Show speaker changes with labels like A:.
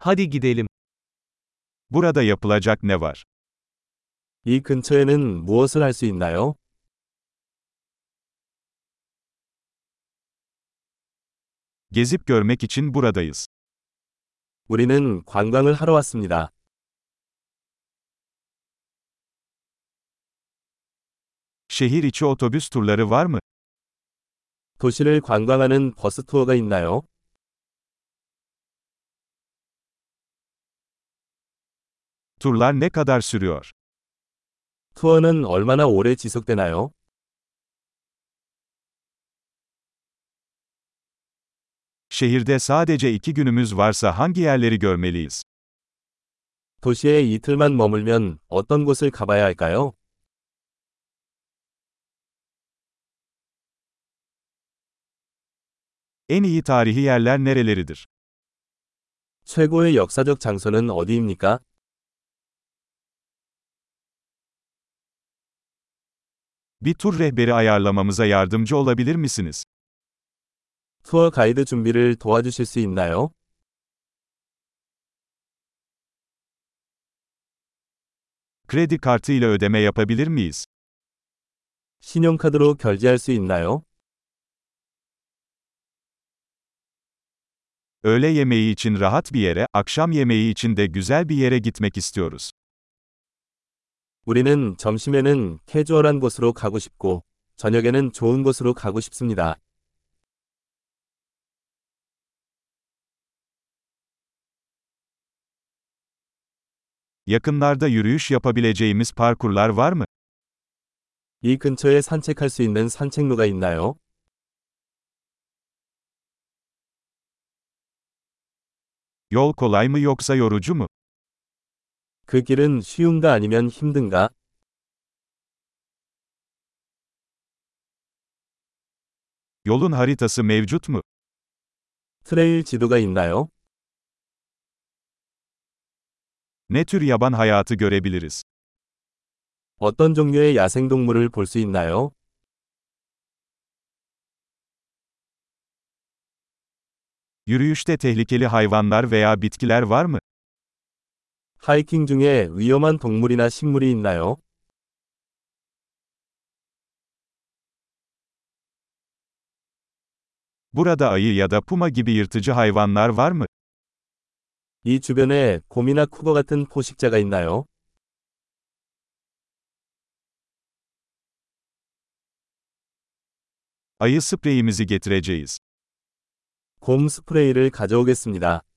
A: Hadi gidelim.
B: Burada yapılacak ne var?
C: 이 근처에는 무엇을 할 수 있나요?
B: Gezip görmek için buradayız.
C: 우리는 관광을 하러 왔습니다.
B: Şehir içi otobüs turları var mı?
C: 도시를 관광하는 버스 투어가 있나요?
B: Turlar ne kadar sürüyor?
C: 투어는 얼마나 오래 지속되나요?
B: Şehirde sadece iki günümüz varsa hangi yerleri görmeliyiz?
C: 도시에 이틀만 머물면 어떤 곳을 가봐야 할까요?
B: En iyi tarihi yerler nereleridir?
C: 최고의 역사적 장소는 어디입니까?
B: Bir tur rehberi ayarlamamıza yardımcı olabilir misiniz?
C: 투어 가이드 준비를 도와주실 수 있나요?
B: Kredi kartı ile ödeme yapabilir miyiz?
C: 신용카드로 결제할 수 있나요?
B: Öğle yemeği için rahat bir yere, akşam yemeği için de güzel bir yere gitmek istiyoruz.
C: 우리는 점심에는 캐주얼한 곳으로 가고 싶고, 저녁에는 좋은 곳으로 가고 싶습니다.
B: Yakınlarda yürüyüş yapabileceğimiz parkurlar var mı?
C: 이 근처에 산책할 수 있는 산책로가 있나요?
B: Yol kolay mı yoksa yorucu mu?
C: 그 길은 쉬운가 아니면 힘든가?
B: Yolun haritası mevcut mu?
C: 트레일 지도가 있나요?
B: Ne tür yaban hayatı görebiliriz?
C: 어떤 종류의 야생동물을 볼 수 있나요?
B: Yürüyüşte tehlikeli hayvanlar veya bitkiler var mı?
C: 하이킹 중에 위험한 동물이나 식물이 있나요?
B: Burada ayı ya da puma gibi yırtıcı hayvanlar var mı?
C: 이 주변에 곰이나 쿠거 같은 포식자가 있나요?
B: Ayı spreyimizi getireceğiz.
C: 곰 스프레이를 가져오겠습니다.